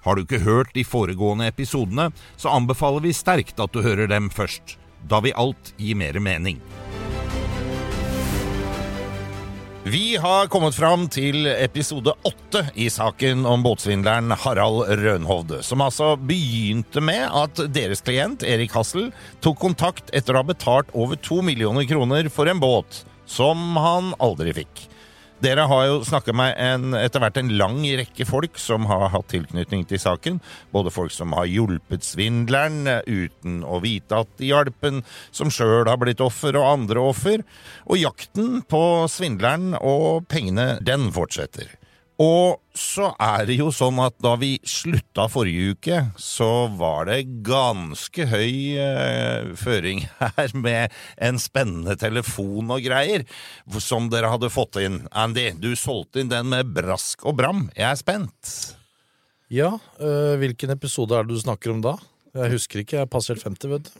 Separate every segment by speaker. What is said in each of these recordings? Speaker 1: Har du ikke hørt de foregående episodene, så anbefaler vi sterkt at du hører dem først. Da vil alt gi mer mening. Vi har kommet fram til episode åtte i saken om båtsvindleren Harald Rønhovde, som altså begynte med at deres klient Erik Hassel tok kontakt etter å ha betalt over to millioner kroner for en båt som han aldri fikk. Dere har jo snakket med en, etter hvert en lang rekke folk som har hatt tilknytning til saken. Både folk som har hjulpet svindleren eh, uten å vite at de hjalp en, som sjøl har blitt offer, og andre offer. Og jakten på svindleren og pengene, den fortsetter. Og så er det jo sånn at da vi slutta forrige uke, så var det ganske høy eh, føring her med en spennende telefon og greier som dere hadde fått inn. Andy, du solgte inn den med brask og bram. Jeg er spent.
Speaker 2: Ja, øh, hvilken episode er det du snakker om da? Jeg husker ikke, jeg har passert 50, vet du.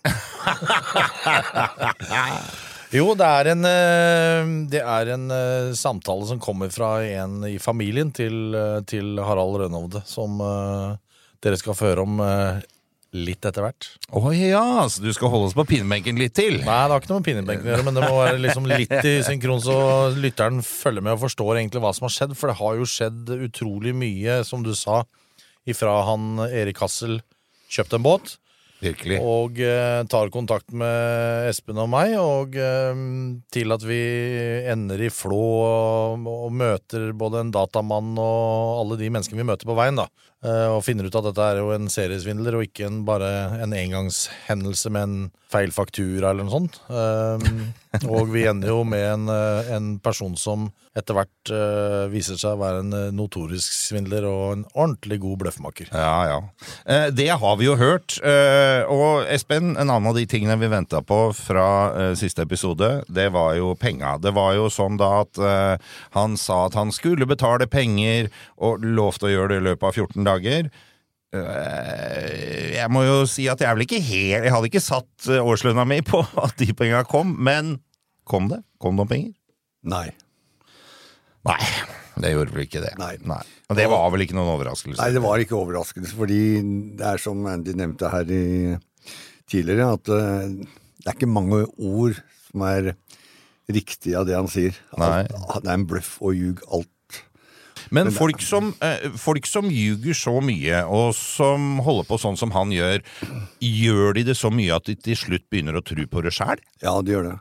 Speaker 2: Jo, det er en, øh, det er en øh, samtale som kommer fra en i familien til, øh, til Harald Rønhovde, som øh, dere skal få høre om øh, litt etter hvert.
Speaker 1: Å ja, så du skal holde oss på pinebenken litt til?
Speaker 2: Nei, det har ikke noe med pinnebenken å gjøre, men det må være liksom litt i synkron, så lytteren følger med og forstår egentlig hva som har skjedd. For det har jo skjedd utrolig mye, som du sa, ifra han Erik Hassel kjøpte en båt
Speaker 1: Virkelig.
Speaker 2: og eh, tar kontakt med Espen og meg, og eh, til at vi ender i Flå og, og møter både en datamann og alle de menneskene vi møter på veien, da. Eh, og finner ut at dette er jo en seriesvindler og ikke en, bare en engangshendelse med en feil faktura eller noe sånt. Eh, og vi ender jo med en, eh, en person som etter hvert eh, viser seg å være en eh, notorisk svindler og en ordentlig god bløffmaker.
Speaker 1: Ja, ja. Eh, Det har vi jo hørt. eh, Og Espen, en annen av de tingene vi venta på fra eh, siste episode, det var jo penga. Det var jo sånn da at eh, han sa at han skulle betale penger, og lovte å gjøre det i løpet av 14 dager. Eh, Jeg må jo si at jeg er vel ikke helt Jeg hadde ikke satt eh, årslønna mi på at de penga kom, men kom det? Kom det noen penger?
Speaker 3: Nei.
Speaker 1: Nei, det gjorde vel ikke det.
Speaker 3: Nei.
Speaker 1: Og det var vel ikke noen overraskelse?
Speaker 3: Nei, det var ikke overraskelse, fordi det er som Andy nevnte her i, tidligere, at eh, det er ikke mange ord som er riktig av det han sier. Alt, det er en bløff og ljug, alt.
Speaker 1: Men folk som, eh, folk som ljuger så mye, og som holder på sånn som han gjør, gjør de det så mye at de til slutt begynner å tro på det sjæl?
Speaker 3: Ja, det gjør det.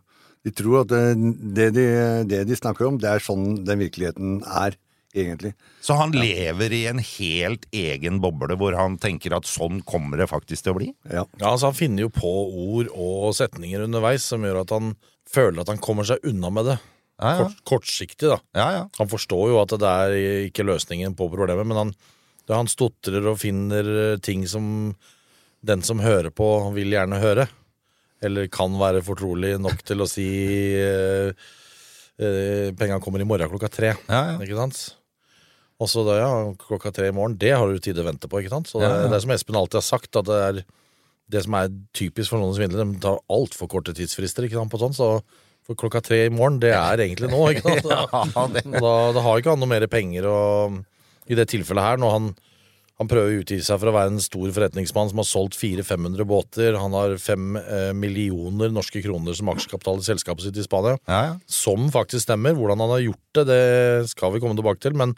Speaker 3: De tror at eh, det de, det de snakker om, det er sånn den virkeligheten er, egentlig.
Speaker 1: Så han lever i en helt egen boble hvor han tenker at sånn kommer det faktisk til å bli?
Speaker 3: Ja.
Speaker 2: Ja, altså Han finner jo på ord og setninger underveis som gjør at han føler at han kommer seg unna med det.
Speaker 1: Ja, ja.
Speaker 2: Kort, kortsiktig, da.
Speaker 1: Ja, ja.
Speaker 2: Han forstår jo at det er ikke løsningen på problemet, men han, det, han stotrer og finner eh, ting som den som hører på, vil gjerne høre. Eller kan være fortrolig nok til å si eh, eh, Penga kommer i morgen klokka tre.
Speaker 1: Ja, ja.
Speaker 2: Ikke sant? Og så da, ja, klokka tre i morgen, det har du tid til å vente på. ikke sant? Så det,
Speaker 1: Ja, ja.
Speaker 2: det er som Espen alltid har sagt, at det er det som er typisk for noen svindlere, de tar altfor korte tidsfrister ikke sant, på sånn, så for klokka tre i morgen, det er egentlig nå, ikke sant?
Speaker 1: Ja, det-
Speaker 2: Og da, da har ikke han noe mer penger og, i det tilfellet her, når han, han prøver å utgi seg for å være en stor forretningsmann som har solgt 400-500 båter, han har 5 eh, millioner norske kroner som aksjekapital i selskapet sitt i Spania,
Speaker 1: ja, ja.
Speaker 2: som faktisk stemmer. Hvordan han har gjort det, det skal vi komme tilbake til, men,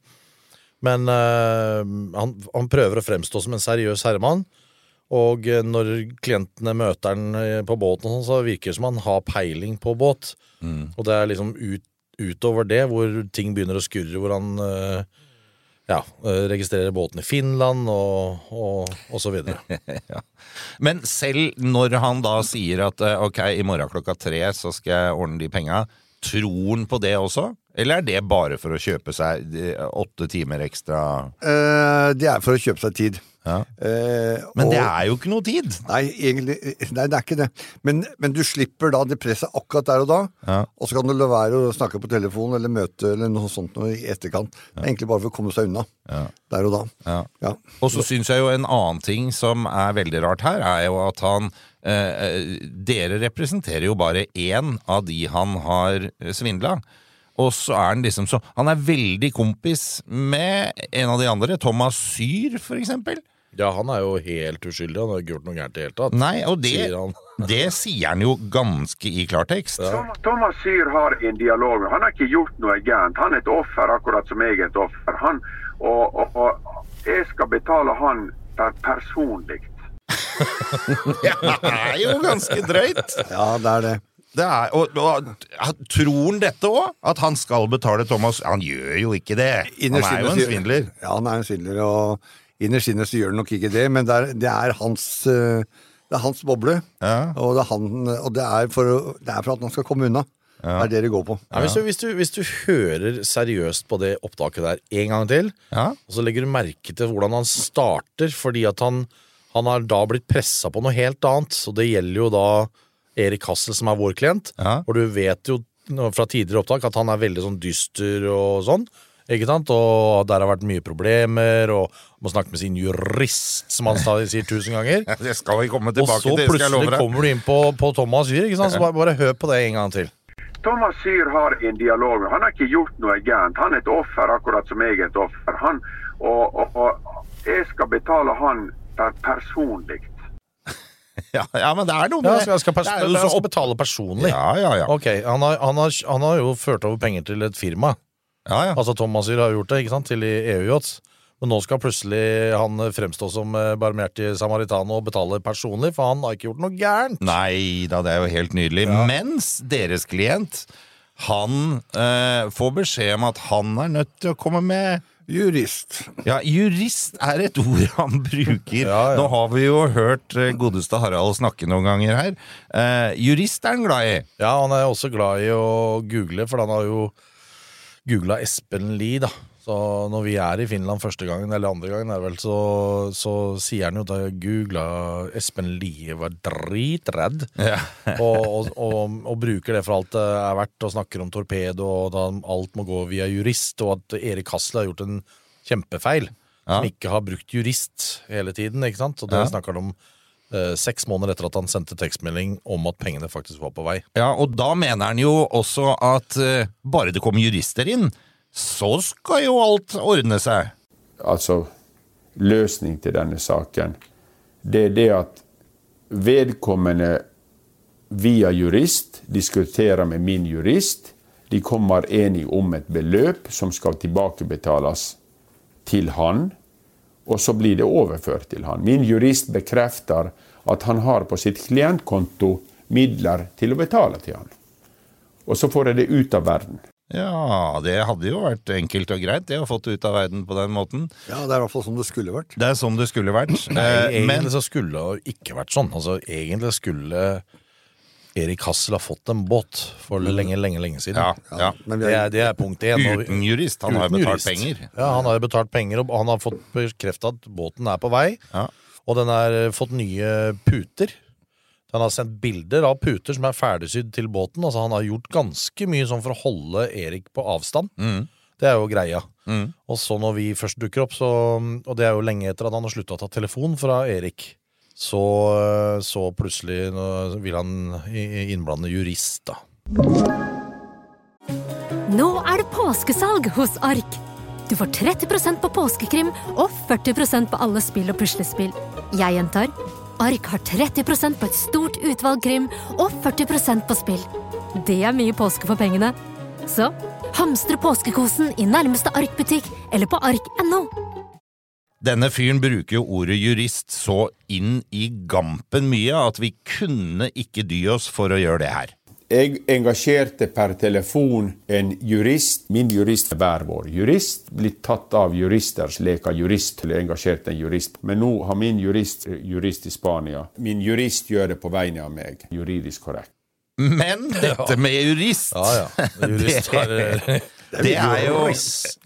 Speaker 2: men eh, han, han prøver å fremstå som en seriøs herremann. Og eh, når klientene møter han eh, på båten, og sånn, så virker det som han har peiling på båt. Og det er liksom ut, utover det hvor ting begynner å skurre, hvor han eh, ja, eh, registrerer båten i Finland og, og, og så videre.
Speaker 1: Men selv når han da sier at eh, ok, i morgen klokka tre så skal jeg ordne de penga, tror han på det også? Eller er det bare for å kjøpe seg eh, åtte timer ekstra?
Speaker 3: Eh, det er for å kjøpe seg tid.
Speaker 1: Ja.
Speaker 3: Eh,
Speaker 1: Men det
Speaker 3: og-
Speaker 1: er jo ikke noe tid!
Speaker 3: Nei, egentlig, nei, det er ikke det. Men, men du slipper da det presset akkurat der og da.
Speaker 1: Ja.
Speaker 3: Og så kan du la være å snakke på telefonen eller møte eller noe sånt noe i etterkant. Det er egentlig bare for å komme seg unna
Speaker 1: Ja.
Speaker 3: der og da.
Speaker 1: Ja.
Speaker 3: Ja.
Speaker 1: Og så syns jeg jo en annen ting som er veldig rart her, er jo at han eh, Dere representerer jo bare én av de han har svindla. Og så er han liksom så Han er veldig kompis med en av de andre, Thomas Syr, for eksempel.
Speaker 2: Ja, han er jo helt uskyldig. Han har ikke gjort noe gærent i det hele tatt.
Speaker 1: Nei, og det
Speaker 2: Sier han.
Speaker 1: Det sier han jo ganske i klartekst.
Speaker 4: Tom- Thomas Syr har en dialog. Han har ikke gjort noe gærent. Han er et offer, akkurat som jeg er et offer. Han, og, og, og jeg skal betale han per personlig.
Speaker 1: Det er jo ganske drøyt!
Speaker 3: ja, det er det.
Speaker 1: Det er, og, og Tror han dette òg? At han skal betale Thomas? Han gjør jo ikke det! Han
Speaker 3: Innerst
Speaker 1: er jo
Speaker 3: inne
Speaker 1: en
Speaker 3: sier-
Speaker 1: svindler.
Speaker 3: Ja, han er en svindler, og innerst inne så gjør han nok ikke det, men det er, det er hans eh, det er hans boble,
Speaker 1: Ja.
Speaker 3: og, det er, han, og det, er for, å- det er for at han skal komme unna. Det er det det går på.
Speaker 2: Nei, hvis, du, hvis, du, hvis du hører seriøst på det opptaket der en gang til,
Speaker 1: Ja.
Speaker 2: og så legger du merke til hvordan han starter, fordi at han, han har da blitt pressa på noe helt annet, så det gjelder jo da Erik Hassel, som er vår klient,
Speaker 1: Ja.
Speaker 2: og du vet jo nå fra tidligere opptak at han er veldig sånn dyster og sånn, ikke sant? Og der har vært mye problemer, og må snakke med sin jurist, som han stadig sier tusen ganger.
Speaker 1: Det skal vi komme
Speaker 2: Og
Speaker 1: tilbake
Speaker 2: så
Speaker 1: til, det skal jeg
Speaker 2: plutselig
Speaker 1: love deg.
Speaker 2: kommer du inn på, på Thomas Hyr, ikke sant? Så bare, bare hør på det en gang til.
Speaker 4: Thomas Syr har en dialog. Han har ikke gjort noe gærent. Han er et offer, akkurat som jeg er et offer. Han, og, og, og jeg skal betale han per personlig.
Speaker 1: Ja, ja, men det er noe
Speaker 2: Ja,
Speaker 1: med
Speaker 2: skal, skal, pers
Speaker 1: det er
Speaker 2: du
Speaker 1: jo så
Speaker 2: skal
Speaker 1: opp...
Speaker 2: betale personlig.
Speaker 1: Ja, ja, ja.
Speaker 2: Ok, han har, han, har, han har jo ført over penger til et firma.
Speaker 1: ja, ja.
Speaker 2: Altså Thomas Hyr har gjort det, ikke sant, til E EU-yachts. Men nå skal plutselig han fremstå som eh, barmhjertig samaritano og betale personlig, for han har ikke gjort noe gærent.
Speaker 1: Nei da, det er jo helt nydelig. Mens deres klient, han eh, får beskjed om at han er nødt til å komme med
Speaker 3: Jurist.
Speaker 1: Ja, jurist er et ord han bruker.
Speaker 2: Ja, ja.
Speaker 1: Nå har vi jo hørt eh, godeste Harald snakke noen ganger her. Eh, jurist er han glad i.
Speaker 2: Ja, han er også glad i å google, for han har jo googla Espen Lie, da. Så når vi er i Finland første gangen, eller andre gangen, er det vel, så, så sier han jo da jeg googla Espen Lie, var dritredd. og, og, og, og bruker det for alt det er verdt, og snakker om torpedo, og at han- alt må gå via jurist, og at Erik Hassel har gjort en kjempefeil. Som ikke har brukt jurist hele tiden, ikke sant? Og det
Speaker 1: Ja.
Speaker 2: snakker han om eh, seks måneder etter at han sendte tekstmelding om at pengene faktisk var på vei.
Speaker 1: Ja, og da mener han jo også at eh, bare det kommer jurister inn, så skal jo alt ordne seg.
Speaker 5: altså løsning til denne saken, det er det at vedkommende via jurist diskuterer med min jurist. De kommer enige om et beløp som skal tilbakebetales til han, og så blir det overført til han. Min jurist bekrefter at han har på sitt klientkonto midler til å betale til han. Og så får jeg det ut av verden.
Speaker 1: Ja, det hadde jo vært enkelt og greit, det å fått det ut av verden på den måten.
Speaker 3: Ja, det er i hvert fall som det skulle vært.
Speaker 1: Det er sånn det skulle vært.
Speaker 2: Nei,
Speaker 1: Eh, men
Speaker 2: egentlig så skulle det jo ikke vært sånn. Altså, egentlig skulle Erik Hassel ha fått en båt for lenge, lenge, lenge siden.
Speaker 1: Mm. ja, ja.
Speaker 3: Men vi
Speaker 2: Det,
Speaker 3: er,
Speaker 2: er, det er punkt én. og vi-
Speaker 1: Uten jurist. Han har jo
Speaker 2: uten
Speaker 1: betalt
Speaker 2: jurist.
Speaker 1: penger.
Speaker 2: Ja, han har jo betalt penger, og han har fått bekrefta at båten er på vei.
Speaker 1: Ja.
Speaker 2: Og den har eh, fått nye puter. Han har sendt bilder av puter som er ferdigsydd til båten. Altså Han har gjort ganske mye sånn for å holde Erik på avstand.
Speaker 1: Mm.
Speaker 2: Det er jo greia. Og så når vi først dukker opp, så, og det er jo lenge etter at han har slutta å ta telefon fra Erik, så, eh, så plutselig nå vil han i- i- innblande jurist, da.
Speaker 6: Nå er det påskesalg hos Ark. Du får 30 på påskekrim og 40 på alle spill og puslespill. Jeg gjentar Ark har 30 på et stort utvalg krim og 40 på spill. Det er mye påske for pengene. Så hamstre påskekosen i nærmeste Ark-butikk eller på ark.no.
Speaker 1: Denne fyren bruker jo ordet jurist så inn i gampen mye at vi kunne ikke dy oss for å gjøre det her.
Speaker 5: Jeg engasjerte per telefon en jurist. Min jurist hver vår jurist. Blitt tatt av juristers lek av jurist. Eller engasjert en jurist. Men nå har min jurist jurist i Spania. Min jurist gjør det på vegne av meg. Juridisk korrekt.
Speaker 1: Men dette med jurist
Speaker 2: Ja, ja. Jurist har eh,
Speaker 1: Det er jo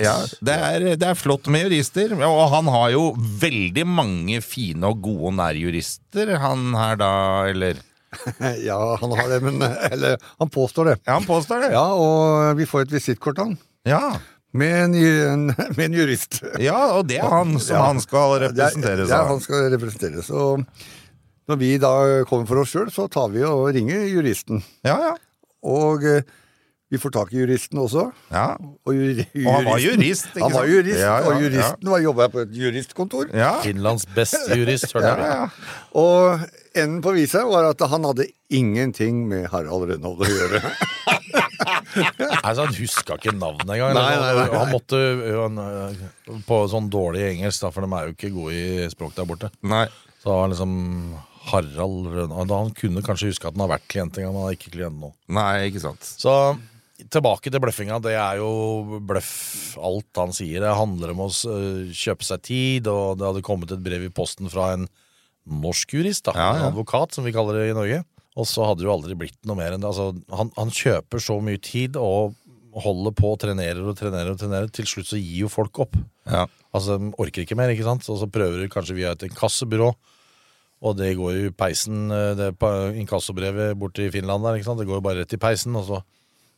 Speaker 1: ja, det, er, det er flott med jurister, og han har jo veldig mange fine og gode nærjurister, han her da, eller
Speaker 3: Eh, Ja, han har det, men eh, Eller, han påstår det.
Speaker 1: Ja, han påstår det.
Speaker 3: Ja, og vi får et visittkort av han.
Speaker 1: Ja,
Speaker 3: Med en, ju- en, med en jurist.
Speaker 1: ja og det er han som
Speaker 3: Ja.
Speaker 1: han skal
Speaker 3: Det
Speaker 1: representere
Speaker 3: er-
Speaker 1: seg.
Speaker 3: Ja, han skal representere. Så når vi da kommer for oss sjøl, så tar vi og ringer juristen.
Speaker 1: Ja, ja.
Speaker 3: Og eh, vi får tak i juristen også.
Speaker 1: ja.
Speaker 3: Og, juri-
Speaker 1: Og han var
Speaker 3: juristen-
Speaker 1: jurist, ikke
Speaker 3: Han var
Speaker 1: sant?
Speaker 3: jurist,
Speaker 1: Ja, ja,
Speaker 3: og juristen var jobba på et juristkontor.
Speaker 1: Ja,
Speaker 2: Finlands beste jurist, hørte jeg.
Speaker 3: Og enden på visa var at han hadde ingenting med Harald Rønhold å gjøre.
Speaker 2: Altså, han huska ikke navnet engang.
Speaker 3: Nei, nei, nei, nei.
Speaker 2: Han måtte jo, han, på sånn dårlig engelsk, da, for de er jo ikke gode i språk der borte.
Speaker 1: Nei.
Speaker 2: Så det var liksom Harald Rønhold Han kunne kanskje huske at han har vært klient en gang, men han er ikke klient nå.
Speaker 1: Nei, ikke sant.
Speaker 2: Så tilbake til bløffinga. Det er jo bløff, alt han sier. Det handler om å s- øh, kjøpe seg tid, og det hadde kommet et brev i posten fra en norsk jurist, da,
Speaker 1: Ja, ja.
Speaker 2: en advokat, som vi kaller det i Norge. Og så hadde det jo aldri blitt noe mer enn det. Altså, han, han kjøper så mye tid og holder på og trenerer og trenerer og trenerer. Til slutt så gir jo folk opp.
Speaker 1: Ja.
Speaker 2: Altså, de orker ikke mer, ikke sant? Og så prøver du kanskje via et inkassobyrå, og det går jo i peisen, eh, det pa- inkassobrevet borte i Finland der, ikke sant? Det går jo bare rett i peisen, og så,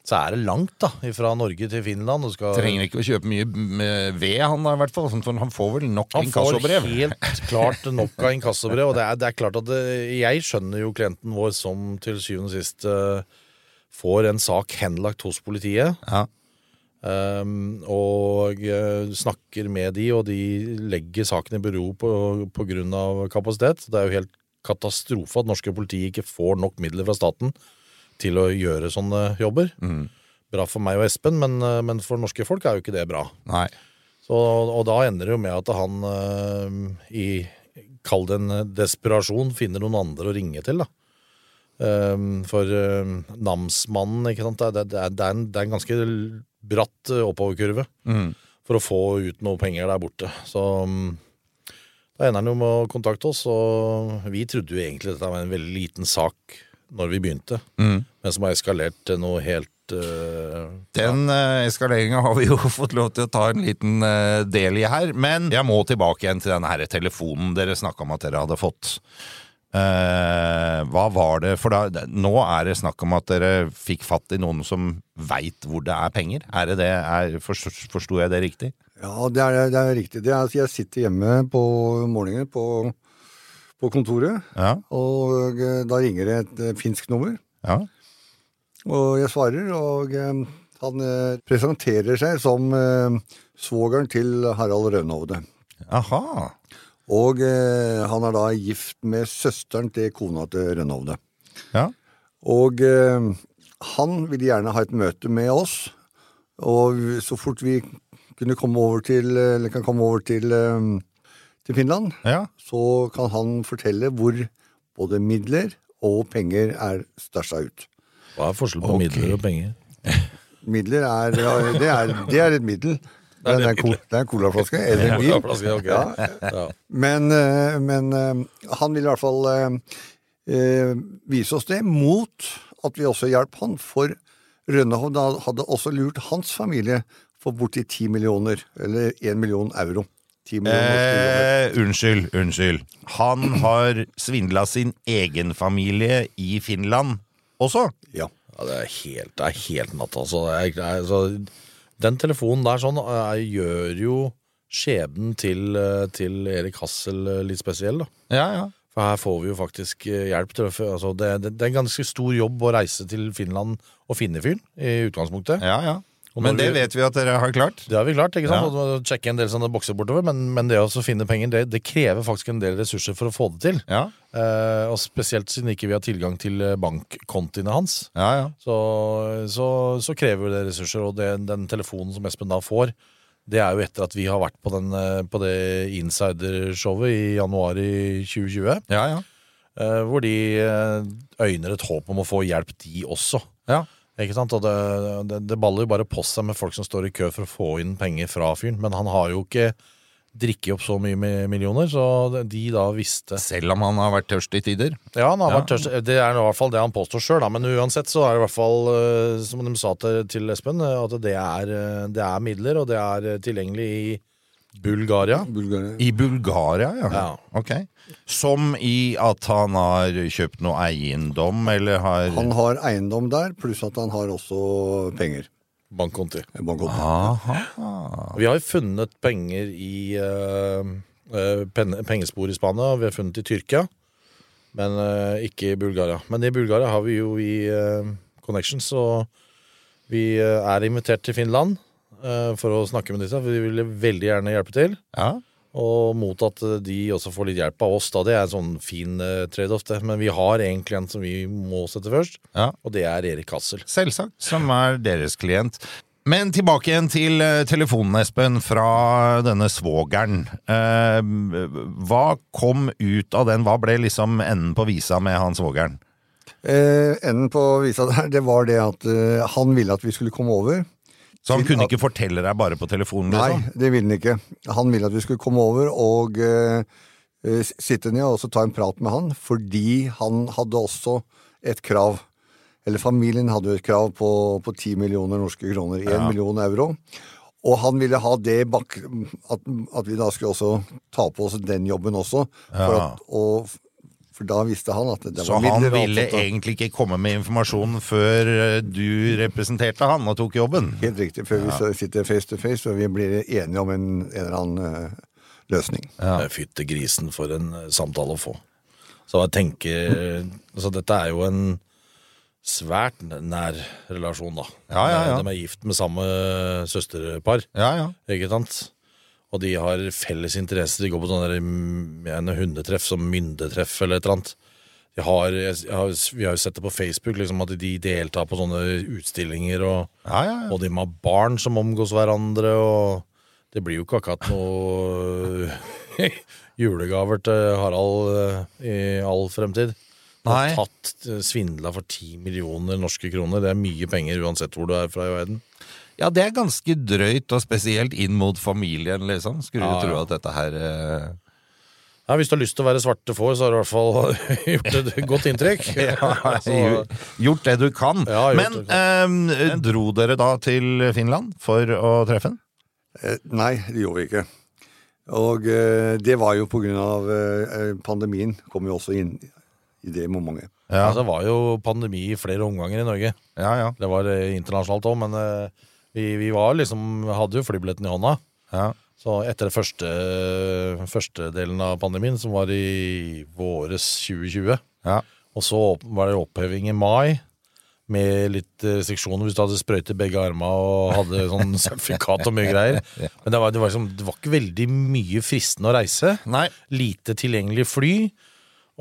Speaker 2: så er det langt da, fra Norge til Finland. Du skal,
Speaker 1: Trenger ikke å kjøpe mye med ved, han da, i hvert fall. sånn, For han får vel nok
Speaker 2: han får
Speaker 1: inkassobrev.
Speaker 2: helt klart nok av inkassobrev, og det er, det er klart at det, jeg skjønner jo klienten vår som til syvende og sist eh, får en sak henlagt hos politiet,
Speaker 1: Ja.
Speaker 2: Um, og eh, snakker med de, og de legger saken i bero på, på grunn av kapasitet. Det er jo helt katastrofe at norske politi ikke får nok midler fra staten til å gjøre sånne jobber. Bra for meg og Espen, men, eh, men for norske folk er jo ikke det bra.
Speaker 1: Nei.
Speaker 2: Så, og da ender det jo med at han eh, i Kall det en desperasjon finner noen andre å ringe til, da. Eh, for eh, namsmannen, ikke sant. Det, er- det, er- det, er en, det er en ganske bratt eh, oppoverkurve
Speaker 1: Mm.
Speaker 2: for å få ut noe penger der borte. Så mm, da ender han jo med å kontakte oss, og vi trodde jo egentlig dette var en veldig liten sak når vi begynte,
Speaker 1: Mm.
Speaker 2: men som har eskalert til noe helt eh,
Speaker 1: Den uh, eskaleringa har vi jo fått lov til å ta en liten eh, del i her. Men jeg må tilbake igjen til den her telefonen dere snakka om at dere hadde fått. Eh, hva var det For da, nå er det snakk om at dere fikk fatt i noen som veit hvor det er penger. Er det det? Er, for- Forsto jeg det riktig?
Speaker 3: Ja, det er, det er riktig. Det er, altså, jeg sitter hjemme på morgenen på, på kontoret,
Speaker 1: Ja.
Speaker 3: og eh, da ringer det et eh, finsk nummer.
Speaker 1: ja.
Speaker 3: Og jeg svarer, og eh, han eh, presenterer seg som eh, svogeren til Harald Rønhovde.
Speaker 1: Aha.
Speaker 3: Og eh, han er da gift med søsteren til kona til Rønhovde.
Speaker 1: Ja.
Speaker 3: Og eh, han ville gjerne ha et møte med oss, og så fort vi kunne komme over til, eller kan komme over til, eh, til Finland,
Speaker 1: ja.
Speaker 3: så kan han fortelle hvor både midler og penger er størst ut.
Speaker 2: Hva er forskjellen på
Speaker 1: Ok.
Speaker 2: midler og penger?
Speaker 3: Midler er, ja, det er, det er et middel. Det er, det er, en, col- det er en colaflaske eller en
Speaker 2: Ja,
Speaker 3: bil.
Speaker 2: flaske, ok. Ja.
Speaker 3: Men, eh, men eh, han ville i hvert fall eh, eh, vise oss det, mot at vi også hjalp han. For Rønnehovd hadde også lurt hans familie for borti 10 millioner, eller 1 million euro. 10 millioner norske kroner.
Speaker 1: Eh, unnskyld, unnskyld. Han har svindla sin egen familie i Finland også.
Speaker 3: Ja.
Speaker 2: Ja, det er helt, det er helt natt, altså. Det er, det er, altså. Den telefonen der sånn eh, gjør jo skjebnen til, eh, til Erik Hassel eh, litt spesiell, da.
Speaker 1: Ja, ja.
Speaker 2: For her får vi jo faktisk eh, hjelp til å fø- altså, det, det, det er en ganske stor jobb å reise til Finland og finne fyren, i utgangspunktet.
Speaker 1: Ja, ja.
Speaker 2: Og
Speaker 1: Men
Speaker 2: når
Speaker 1: det
Speaker 2: vi-
Speaker 1: vet vi at dere har klart.
Speaker 2: Det har vi klart, ikke sant?
Speaker 1: Ja.
Speaker 2: Og så Sjekke en del sånne bokser bortover, men, men det å så finne penger, det, det krever faktisk en del ressurser for å få det til.
Speaker 1: Ja,
Speaker 2: Eh, og spesielt siden ikke vi har tilgang til eh, bankkontiene hans.
Speaker 1: ja, ja.
Speaker 2: så, så, så krever det ressurser, og det, den telefonen som Espen da får, det er jo etter at vi har vært på, den, eh, på det insidershowet i januar i 2020,
Speaker 1: ja, ja.
Speaker 2: eh, hvor de eh, øyner et håp om å få hjelp de også.
Speaker 1: Ja.
Speaker 2: Ikke sant? Og det, det, det baller jo bare på seg med folk som står i kø for å få inn penger fra fyren, men han har jo ikke drikke opp så mye mi- millioner, så de da visste
Speaker 1: Selv om han har vært tørst i tider.
Speaker 2: Ja, han har vært tørst. Eh, Det er nå i hvert fall det han påstår sjøl, men uansett så er det i hvert fall, eh, som de sa til, til Espen, eh, at det er, eh, det er midler, og det er eh, tilgjengelig i Bulgaria.
Speaker 3: Bulgaria.
Speaker 1: I Bulgaria, ja.
Speaker 2: Ja.
Speaker 1: Ok. Som i at han har kjøpt noe eiendom, eller har
Speaker 3: Han har eiendom der, pluss at han har også penger.
Speaker 2: Bankkonti.
Speaker 3: Bankkonto.
Speaker 1: Aha.
Speaker 2: Vi har jo funnet penger i eh, eh, pen, pengespor i Spania, og vi har funnet det i Tyrkia, men eh, ikke i Bulgaria. Men i Bulgaria har vi jo i eh, Connections, og vi eh, er invitert til Finland eh, for å snakke med disse, for vi ville veldig gjerne hjelpe til.
Speaker 1: Ja.
Speaker 2: Og mot at eh, de også får litt hjelp av oss, da. Det er en sånn fin eh, trade-off, det. Men vi har egentlig en som vi må sette først,
Speaker 1: ja.
Speaker 2: og det er Erik Hassel.
Speaker 1: Selvsagt. Som er deres klient. Men tilbake igjen til eh, telefonen, Espen, fra denne svogeren. Eh, hva kom ut av den? Hva ble liksom enden på visa med han svogeren?
Speaker 3: Eh, enden på visa der, det var det at eh, han ville at vi skulle komme over.
Speaker 1: Så han
Speaker 3: Til
Speaker 1: kunne
Speaker 3: at-
Speaker 1: ikke fortelle deg bare på telefonen?
Speaker 3: Nei,
Speaker 1: Liksom?
Speaker 3: det ville han ikke. Han ville at vi skulle komme over og eh, eh, s- sitte ned og så ta en prat med han, fordi han hadde også et krav. Eller familien hadde jo et krav på, på 10 millioner norske kroner. 1 million euro. Og han ville ha det i bak... At, at vi da skulle også ta på oss den jobben også. For,
Speaker 1: Ja.
Speaker 3: at, og, for da visste han at det
Speaker 1: Så
Speaker 3: var
Speaker 1: han
Speaker 3: midler og alt
Speaker 1: ville
Speaker 3: dette.
Speaker 1: egentlig ikke komme med informasjon før eh, du representerte han og tok jobben?
Speaker 3: Helt riktig. Før vi sitter face to face, og vi blir enige om en, en eller annen eh, løsning.
Speaker 2: Ja. Eh, Fytte grisen for en eh, samtale å få. Så jeg tenker Så dette er jo en svært nær relasjon, da.
Speaker 1: Ja, ja, ja.
Speaker 2: De er gift med samme søsterpar,
Speaker 1: Ja, ja.
Speaker 2: ikke sant? Og de har felles interesser. De går på sånne der, mm, jeg vet ikke, hundetreff som myndetreff eller et eller annet. De har, jeg, jeg har, vi har jo sett det på Facebook, liksom, at de deltar på sånne utstillinger og
Speaker 1: ja, ja, ja.
Speaker 2: og de må ha barn som omgås hverandre, og det blir jo ikke akkurat noe julegaver til Harald eh, i all fremtid. Han
Speaker 1: Nei.
Speaker 2: Har tatt eh, svindla for 10 millioner norske kroner. Det er mye penger uansett hvor du er fra i verden.
Speaker 1: Ja, det er ganske drøyt, og spesielt inn mot familien, liksom. Skulle
Speaker 2: Ja,
Speaker 1: du tro
Speaker 2: ja.
Speaker 1: at dette her eh,
Speaker 2: Ja, hvis du har lyst til å være svarte får, så har du i hvert fall gjort et godt inntrykk.
Speaker 1: ja,
Speaker 2: Så-
Speaker 1: gjo- Gjort det du kan.
Speaker 2: Ja, gjort
Speaker 1: Men
Speaker 2: det du
Speaker 1: ehm, dro dere da til Finland for å treffe den?
Speaker 3: Eh, Nei, det gjorde vi ikke. Og eh, det var jo på grunn av eh, pandemien, kom jo også inn i det momentet.
Speaker 1: Ja.
Speaker 2: altså, det var jo pandemi i flere omganger i Norge.
Speaker 1: Ja, ja.
Speaker 2: Det var eh, internasjonalt òg, men eh, vi, vi var liksom, hadde jo flybilletten i hånda.
Speaker 1: ja.
Speaker 2: Så etter den første, første delen av pandemien, som var i våres 2020,
Speaker 1: ja.
Speaker 2: og så opp- var det oppheving i mai, med litt seksjoner hvis du hadde sprøyt i begge armer og hadde sånn sertifikat og mye greier. Men det var, det, var liksom, det var ikke veldig mye fristende å reise.
Speaker 1: Nei.
Speaker 2: Lite tilgjengelig fly,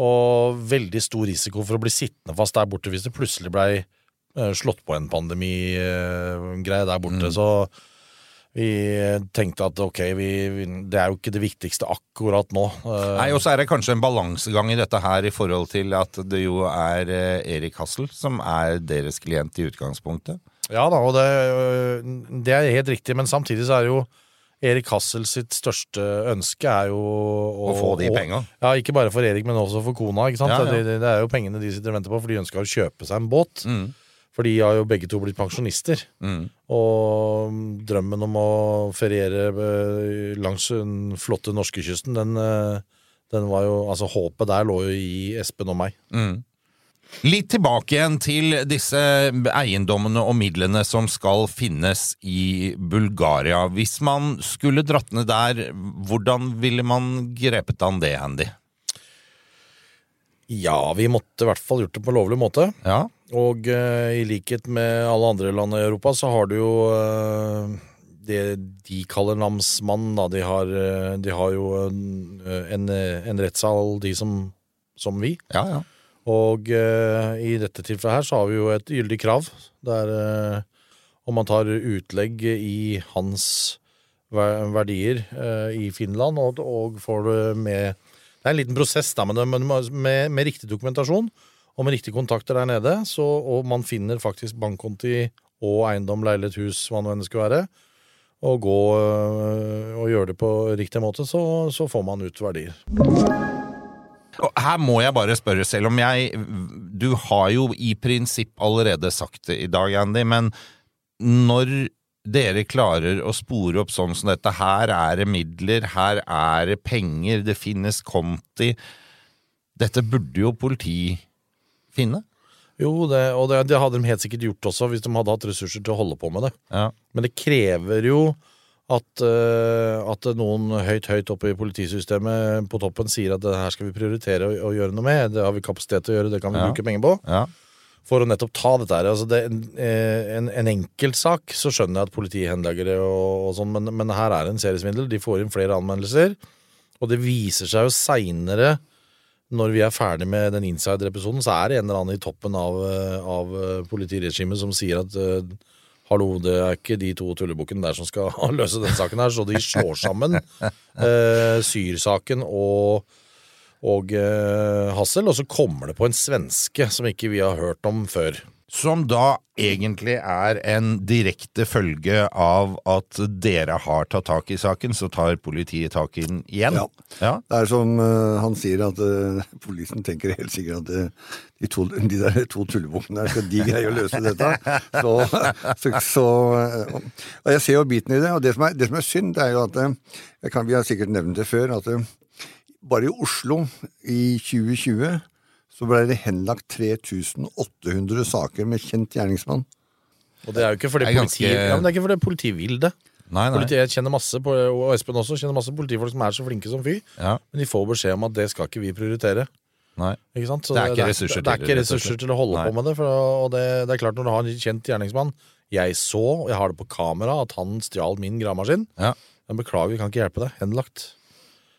Speaker 2: og veldig stor risiko for å bli sittende fast der borte hvis det plutselig blei eh, slått på en pandemigreie der borte. Så vi tenkte at ok, vi, vi, det er jo ikke det viktigste akkurat nå. Eh,
Speaker 1: Nei, og så er det kanskje en balansegang i dette her i forhold til at det jo er eh, Erik Hassel som er deres klient i utgangspunktet.
Speaker 2: Ja da, og det, øh, det er helt riktig, men samtidig så er det jo Erik Hassel sitt største ønske er jo
Speaker 1: Å
Speaker 2: å,
Speaker 1: få de
Speaker 2: å-
Speaker 1: penga.
Speaker 2: Ja, ikke bare for Erik, men også for kona. ikke sant?
Speaker 1: Ja, ja.
Speaker 2: Det, det- det er jo pengene de sitter og venter på, for de ønsker å kjøpe seg en båt. For de har jo begge to blitt pensjonister. Og drømmen om å feriere øh, langs den flotte norskekysten, den, øh, den var jo Altså, håpet der lå jo i Espen og meg.
Speaker 1: Litt tilbake igjen til disse eiendommene og midlene som skal finnes i Bulgaria. Hvis man skulle dratt ned der, hvordan ville man grepet an det, Andy?
Speaker 2: Ja, vi måtte i hvert fall gjort det på lovlig måte.
Speaker 1: Ja,
Speaker 2: Og eh, i likhet med alle andre land i Europa, så har du jo eh, det de kaller namsmann. Da. De, har, eh, de har jo en, en, en rettssal, de som, som vi.
Speaker 1: ja, ja.
Speaker 2: Og eh, i dette tilfellet her så har vi jo et gyldig krav. Det er eh, om man tar utlegg i hans ver- verdier eh, i Finland, og, og får det med Det er en liten prosess, da, men det- men med, med riktig dokumentasjon og med riktige kontakter der nede, så, og man finner faktisk bankkonti og eiendom, leilighet, hus, hva nå enn det skulle være, og gå øh, og gjøre det på riktig måte, så, så får man ut verdier.
Speaker 1: Og her må jeg bare spørre, selv om jeg Du har jo i prinsipp allerede sagt det i dag, Andy, men når dere klarer å spore opp sånn som dette Her er det midler, her er det penger, det finnes konti Dette burde jo politi finne.
Speaker 2: Jo, det, og det, det hadde de helt sikkert gjort også, hvis de hadde hatt ressurser til å holde på med det.
Speaker 1: Ja.
Speaker 2: Men det krever jo at, eh, at noen høyt, høyt oppe i politisystemet på toppen sier at det her skal vi prioritere å, å gjøre noe med, det har vi kapasitet til å gjøre, det kan vi
Speaker 1: Ja.
Speaker 2: bruke penger på.
Speaker 1: ja.
Speaker 2: For å nettopp ta dette her. Altså det, eh, en, en enkeltsak så skjønner jeg at politiet henlegger det, og, og sånn, men, men her er det en seriesvindel. De får inn flere anmeldelser. Og det viser seg jo seinere, når vi er ferdig med den insider-episoden, så er det en eller annen i toppen av, eh, av eh, politiregimet som sier at eh, hallo, det er ikke de to tullebukkene der som skal løse den saken her, så de slår sammen eh, Syr-saken og og eh, Hassel, og så kommer det på en svenske som ikke vi har hørt om før.
Speaker 1: Som da egentlig er en direkte følge av at dere har tatt tak i saken, så tar politiet tak i den igjen.
Speaker 3: Ja.
Speaker 1: Ja.
Speaker 3: Det er som eh, han sier, at uh, politiet tenker helt sikkert at eh, de, to, de der to tullebukkene der, skal de greie å løse dette. Så, så, så eh, Og jeg ser jo biten i det. Og det som er, det som er synd, det er jo at eh, jeg kan, Vi har sikkert nevnt det før, at eh, bare i Oslo i 2020 så ble det henlagt 3800 saker med kjent gjerningsmann.
Speaker 2: Og det er jo ikke fordi
Speaker 1: Det er ganske-
Speaker 2: politiet ja, men det er ikke fordi politiet vil det.
Speaker 1: Nei, nei.
Speaker 2: Politiet, jeg kjenner masse, på, og Espen også, kjenner masse politifolk som er så flinke som fy,
Speaker 1: Ja.
Speaker 2: men de får beskjed om at det skal ikke vi prioritere.
Speaker 1: Nei.
Speaker 2: Ikke sant? Så
Speaker 1: Det er ikke ressurser
Speaker 2: det er
Speaker 1: til
Speaker 2: ikke
Speaker 1: det, rett og
Speaker 2: ressurser
Speaker 1: slett.
Speaker 2: til å holde
Speaker 1: Nei.
Speaker 2: på med det. For, og det, det er klart Når du har en kjent gjerningsmann Jeg så, og jeg har det på kamera, at han stjal min gravemaskin.
Speaker 1: Ja.
Speaker 2: Jeg beklager, vi kan ikke hjelpe deg. Henlagt.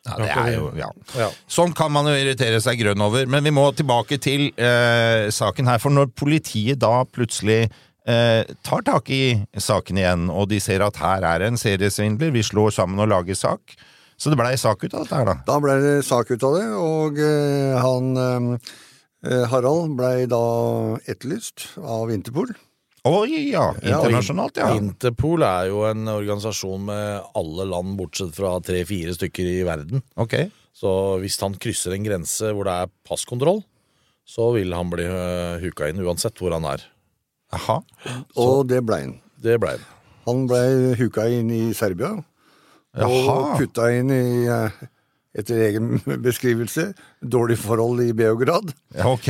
Speaker 1: Ja, det er jo ja.
Speaker 2: Ja.
Speaker 1: Sånn kan man jo irritere seg grønn over, men vi må tilbake til eh, saken her. For når politiet da plutselig eh, tar tak i saken igjen, og de ser at her er en seriesvindler, vi slår sammen og lager sak. Så det blei sak ut av dette her, da.
Speaker 3: Da ble det sak ut av det, og eh, han eh, Harald blei da etterlyst av Interpol.
Speaker 1: Oi, ja.
Speaker 3: Ja, og in-
Speaker 1: Internasjonalt, ja.
Speaker 2: Interpol er jo en organisasjon med alle land bortsett fra tre-fire stykker i verden.
Speaker 1: Ok.
Speaker 2: Så hvis han krysser en grense hvor det er passkontroll, så vil han bli øh, huka inn uansett hvor han er.
Speaker 1: Aha.
Speaker 3: Og det blei han.
Speaker 2: Det blei det.
Speaker 3: Han blei huka inn i Serbia. Og
Speaker 1: Jaha.
Speaker 3: putta inn i, eh, etter egen beskrivelse, dårlig forhold i Beograd.
Speaker 1: Ok.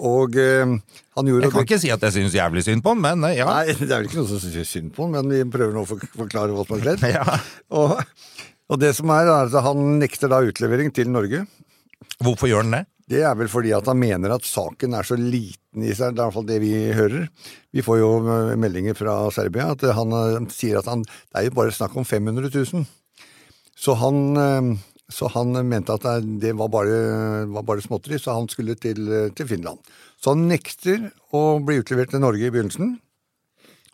Speaker 3: Og eh, han gjorde
Speaker 1: Jeg kan ikke si at jeg syns jævlig synd på den, men eh, ja.
Speaker 3: Nei, det er vel ikke noe som synes synd på han, men vi prøver nå å fork- forklare hva som har skjedd.
Speaker 1: Ja.
Speaker 3: Og, og det som er, er at han nekter da utlevering til Norge.
Speaker 1: Hvorfor gjør den det?
Speaker 3: Det er vel fordi at han mener at saken er så liten i seg, det er i hvert fall det vi hører. Vi får jo eh, meldinger fra Serbia at han eh, sier at han, det er jo bare snakk om 500 000. Så han, eh, så han mente at det- det var bare, var bare småtteri, så han skulle til, eh, til Finland. Så han nekter å bli utlevert til Norge i begynnelsen.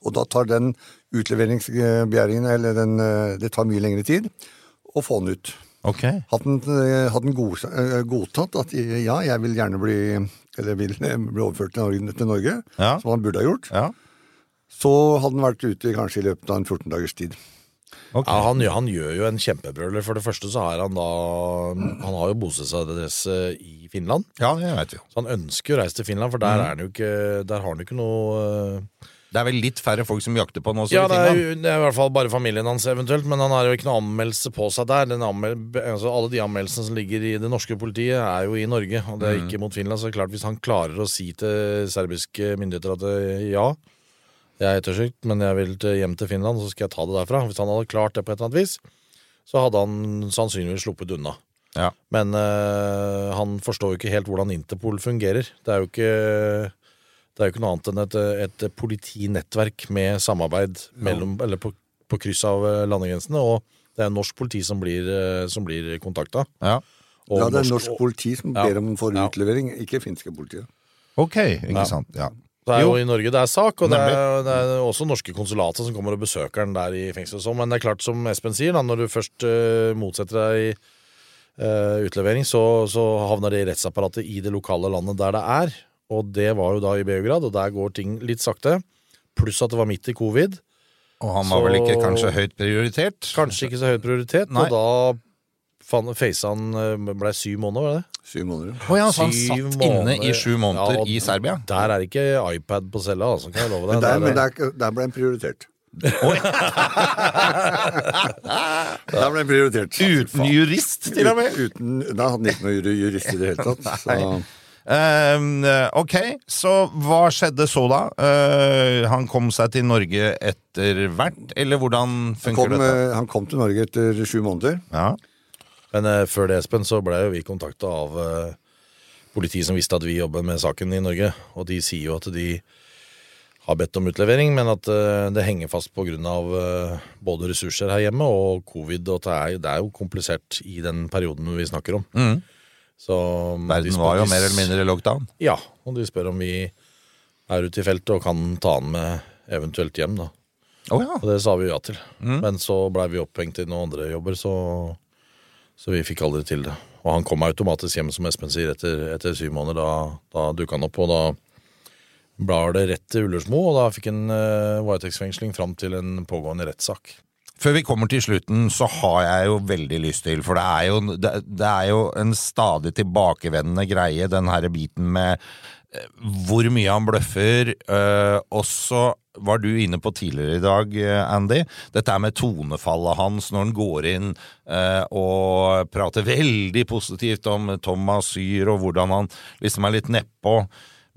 Speaker 3: Og da tar den utleveringsbegjæringen, eller den, eh, det tar mye lengre tid, å få han ut.
Speaker 1: Ok.
Speaker 3: Hadde han, eh, hadde han god, eh, godtatt at eh, ja, jeg vil gjerne bli, eller vil, eh, bli overført til Norge, til Norge
Speaker 1: Ja.
Speaker 3: som han burde ha gjort,
Speaker 1: Ja.
Speaker 3: så hadde han vært ute kanskje i løpet av en 14 dagers tid.
Speaker 1: Ok.
Speaker 2: Ja, han, gjør- han gjør jo en kjempebrøler. For det første så har han da Han har jo bostedsadresse i Finland.
Speaker 1: Ja, det vet vi jo.
Speaker 2: Så han ønsker jo å reise til Finland, for der, er han jo ikke, der har han jo ikke noe øh,
Speaker 1: Det er vel litt færre folk som jakter på den også?
Speaker 2: Ja,
Speaker 1: i
Speaker 2: det er,
Speaker 1: Finland.
Speaker 2: jo, det er i hvert fall bare familien hans eventuelt, men han har jo ikke noe anmeldelse på seg der. Den anmel altså, alle de anmeldelsene som ligger i det norske politiet, er jo i Norge, og det er ikke mot Finland. Så det er klart, hvis han klarer å si til serbiske myndigheter at eh, ja, jeg er ettersykt, men jeg vil til, hjem til Finland, så skal jeg ta det derfra. Hvis han hadde klart det på et eller annet vis, så hadde han sannsynligvis sluppet unna.
Speaker 1: Ja.
Speaker 2: Men eh, han forstår jo ikke helt hvordan Interpol fungerer. Det er jo ikke, det er jo ikke noe annet enn et, et politinettverk med samarbeid mellom, eller på, på kryss av eh, landegrensene. Og det er norsk politi som blir, eh, som blir kontakta.
Speaker 1: Ja.
Speaker 2: Og
Speaker 3: ja, det er norsk politi som
Speaker 2: Ja.
Speaker 3: ber om for
Speaker 2: Ja.
Speaker 3: utlevering, ikke finske politiet.
Speaker 1: Ok, ikke
Speaker 2: Ja.
Speaker 1: sant. Ja.
Speaker 2: Det er jo
Speaker 1: Jo.
Speaker 2: i Norge det er sak, og det er, det er også norske konsulater som kommer og besøker den der i fengsel. og sånn. Men det er klart, som Espen sier, da, når du først eh, motsetter deg eh, utlevering, så, så havner det i rettsapparatet i det lokale landet der det er. Og det var jo da i Beograd, og der går ting litt sakte. Pluss at det var midt i covid.
Speaker 1: Og han var vel
Speaker 2: Så-
Speaker 1: ikke kanskje høyt prioritert?
Speaker 2: Kanskje ikke så høy prioritet,
Speaker 1: Nei.
Speaker 2: og da fan- facet han eh, ble syv måneder, var det det?
Speaker 3: Syv måneder.
Speaker 1: Å ja, så Altså, han
Speaker 2: Syv
Speaker 1: satt inne
Speaker 2: måneder.
Speaker 1: i sju måneder
Speaker 2: Ja, og
Speaker 1: i Serbia?
Speaker 2: Der er ikke iPad på cella, altså, kan jeg love deg.
Speaker 3: Men der,
Speaker 2: Der er-
Speaker 3: men der, der ble en prioritert. der ble en prioritert.
Speaker 1: Uten jurist, til og med!
Speaker 3: Uten, da hadde han ikke noe jur- jurist i det hele tatt. Så.
Speaker 1: Ehm, ok, så hva skjedde så da? Eh, han kom seg til Norge etter hvert, eller hvordan
Speaker 3: Han
Speaker 1: funker
Speaker 3: kom,
Speaker 1: dette?
Speaker 3: eh, han kom til Norge etter sju måneder.
Speaker 2: eh,
Speaker 1: Ja.
Speaker 2: Men eh, før det, Espen, så ble jo vi kontakta av eh, politiet som visste at vi jobber med saken i Norge. Og de sier jo at de har bedt om utlevering, men at eh, det henger fast pga. Uh, både ressurser her hjemme og covid. Og at det er, det er jo komplisert i den perioden vi snakker om. Så um, de
Speaker 1: Mm. Verden
Speaker 2: spør-
Speaker 1: var jo
Speaker 2: de s-
Speaker 1: mer eller mindre lockdown.
Speaker 2: Ja, og de spør om vi er ute i feltet og kan ta han med eventuelt hjem, da.
Speaker 1: Å ja.
Speaker 2: Og det sa vi jo ja til. Men så blei vi opphengt i noen andre jobber, så, så vi fikk aldri til det. Og han kom automatisk hjem, som Espen sier, etter, etter syv måneder. Da, da dukka han opp, og da blar det rett til Ullersmo, og da fikk han uh, varetektsfengsling fram til en pågående rettssak.
Speaker 1: Før vi kommer til slutten, så har jeg jo veldig lyst til, for det er jo, det, det er jo en stadig tilbakevendende greie, den her biten med eh, hvor mye han bløffer. eh, og så var du inne på tidligere i dag, eh, Andy, dette er med tonefallet hans når han går inn eh, og prater veldig positivt om Thomas Syr og hvordan han liksom er litt nedpå.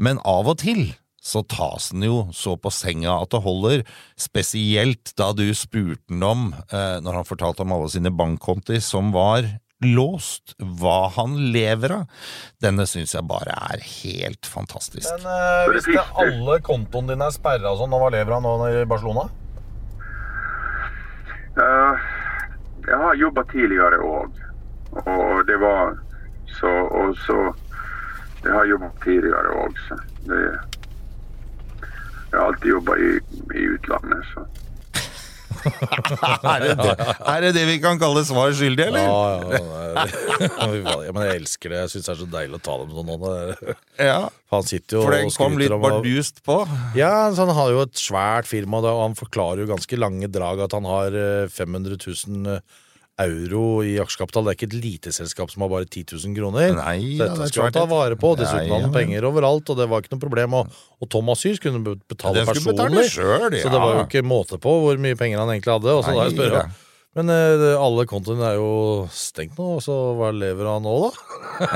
Speaker 1: Men av og til så tas den jo så på senga at det holder, spesielt da du spurte den om, eh, når han fortalte om alle sine bankkonti som var låst, hva han lever av. Denne syns jeg bare er helt fantastisk.
Speaker 2: eh,
Speaker 4: hvis det er alle
Speaker 2: kontoene dine er sperra og sånn, hva lever han nå i Barcelona?
Speaker 4: Eh, jeg har jobba tidligere òg, og det var så Og så Jeg har jobba tidligere òg, så det Jeg har alltid jobba i, i utlandet, så
Speaker 1: Er det det, er det, det vi kan kalle svar skyldig,
Speaker 2: Ja,
Speaker 1: eller?
Speaker 2: ja, ja, ja, men jeg elsker det. Jeg syns det er så deilig å ta sånn det med noen. andre.
Speaker 1: Ja,
Speaker 2: Han sitter jo
Speaker 1: for den
Speaker 2: og
Speaker 1: kom litt
Speaker 2: skryter om å-
Speaker 1: bardust på.
Speaker 2: Ja, så han har jo et svært firma, da, og han forklarer jo ganske lange drag at han har eh, 500 000 euro i aksjekapital. Det er ikke et lite selskap som har bare 10 000 kroner.
Speaker 1: Nei, ja,
Speaker 2: så
Speaker 1: det
Speaker 2: dette
Speaker 1: er
Speaker 2: skulle han ta
Speaker 1: svært.
Speaker 2: vare på. Dessuten
Speaker 1: Nei,
Speaker 2: hadde
Speaker 1: ja,
Speaker 2: han penger overalt, og det var ikke noe problem. Og, og Thomas Syr kunne be- betale
Speaker 1: Den skulle betale
Speaker 2: personlig,
Speaker 1: selv, ja.
Speaker 2: så det var jo ikke måte på hvor mye penger han egentlig hadde. Og så
Speaker 1: Nei,
Speaker 2: da jeg spør,
Speaker 1: ja.
Speaker 2: men eh, alle kontoene er jo stengt nå, så hva lever han nå, da?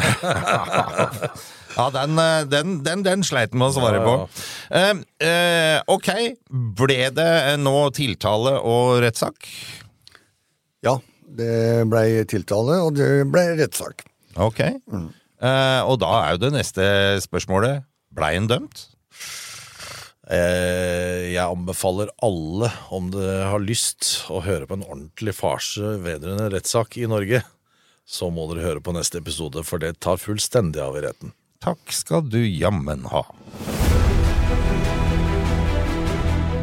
Speaker 1: Ja, den, eh, den, den, den sleit den med å svare
Speaker 2: Ja,
Speaker 1: på.
Speaker 2: ja.
Speaker 1: Eh, eh, ok, ble det eh, nå tiltale og rettssak?
Speaker 3: Ja, det blei tiltale, og det blei rettssak.
Speaker 1: Ok. Eh, og da er jo det neste spørsmålet Blei han dømt?
Speaker 2: Eh, jeg anbefaler alle, om dere har lyst, å høre på en ordentlig farse vedrørende rettssak i Norge. Så må dere høre på neste episode, for det tar fullstendig av i retten.
Speaker 1: Takk skal du jammen ha.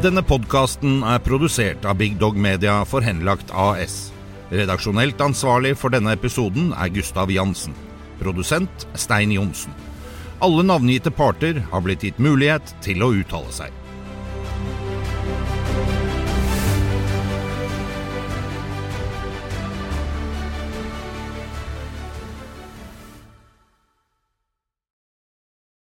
Speaker 1: Denne podkasten er produsert av Big Dog Media for Henlagt AS. Redaksjonelt ansvarlig for denne episoden er Gustav Jansen. Produsent Stein Johnsen. Alle navngitte parter har blitt gitt mulighet til å uttale seg.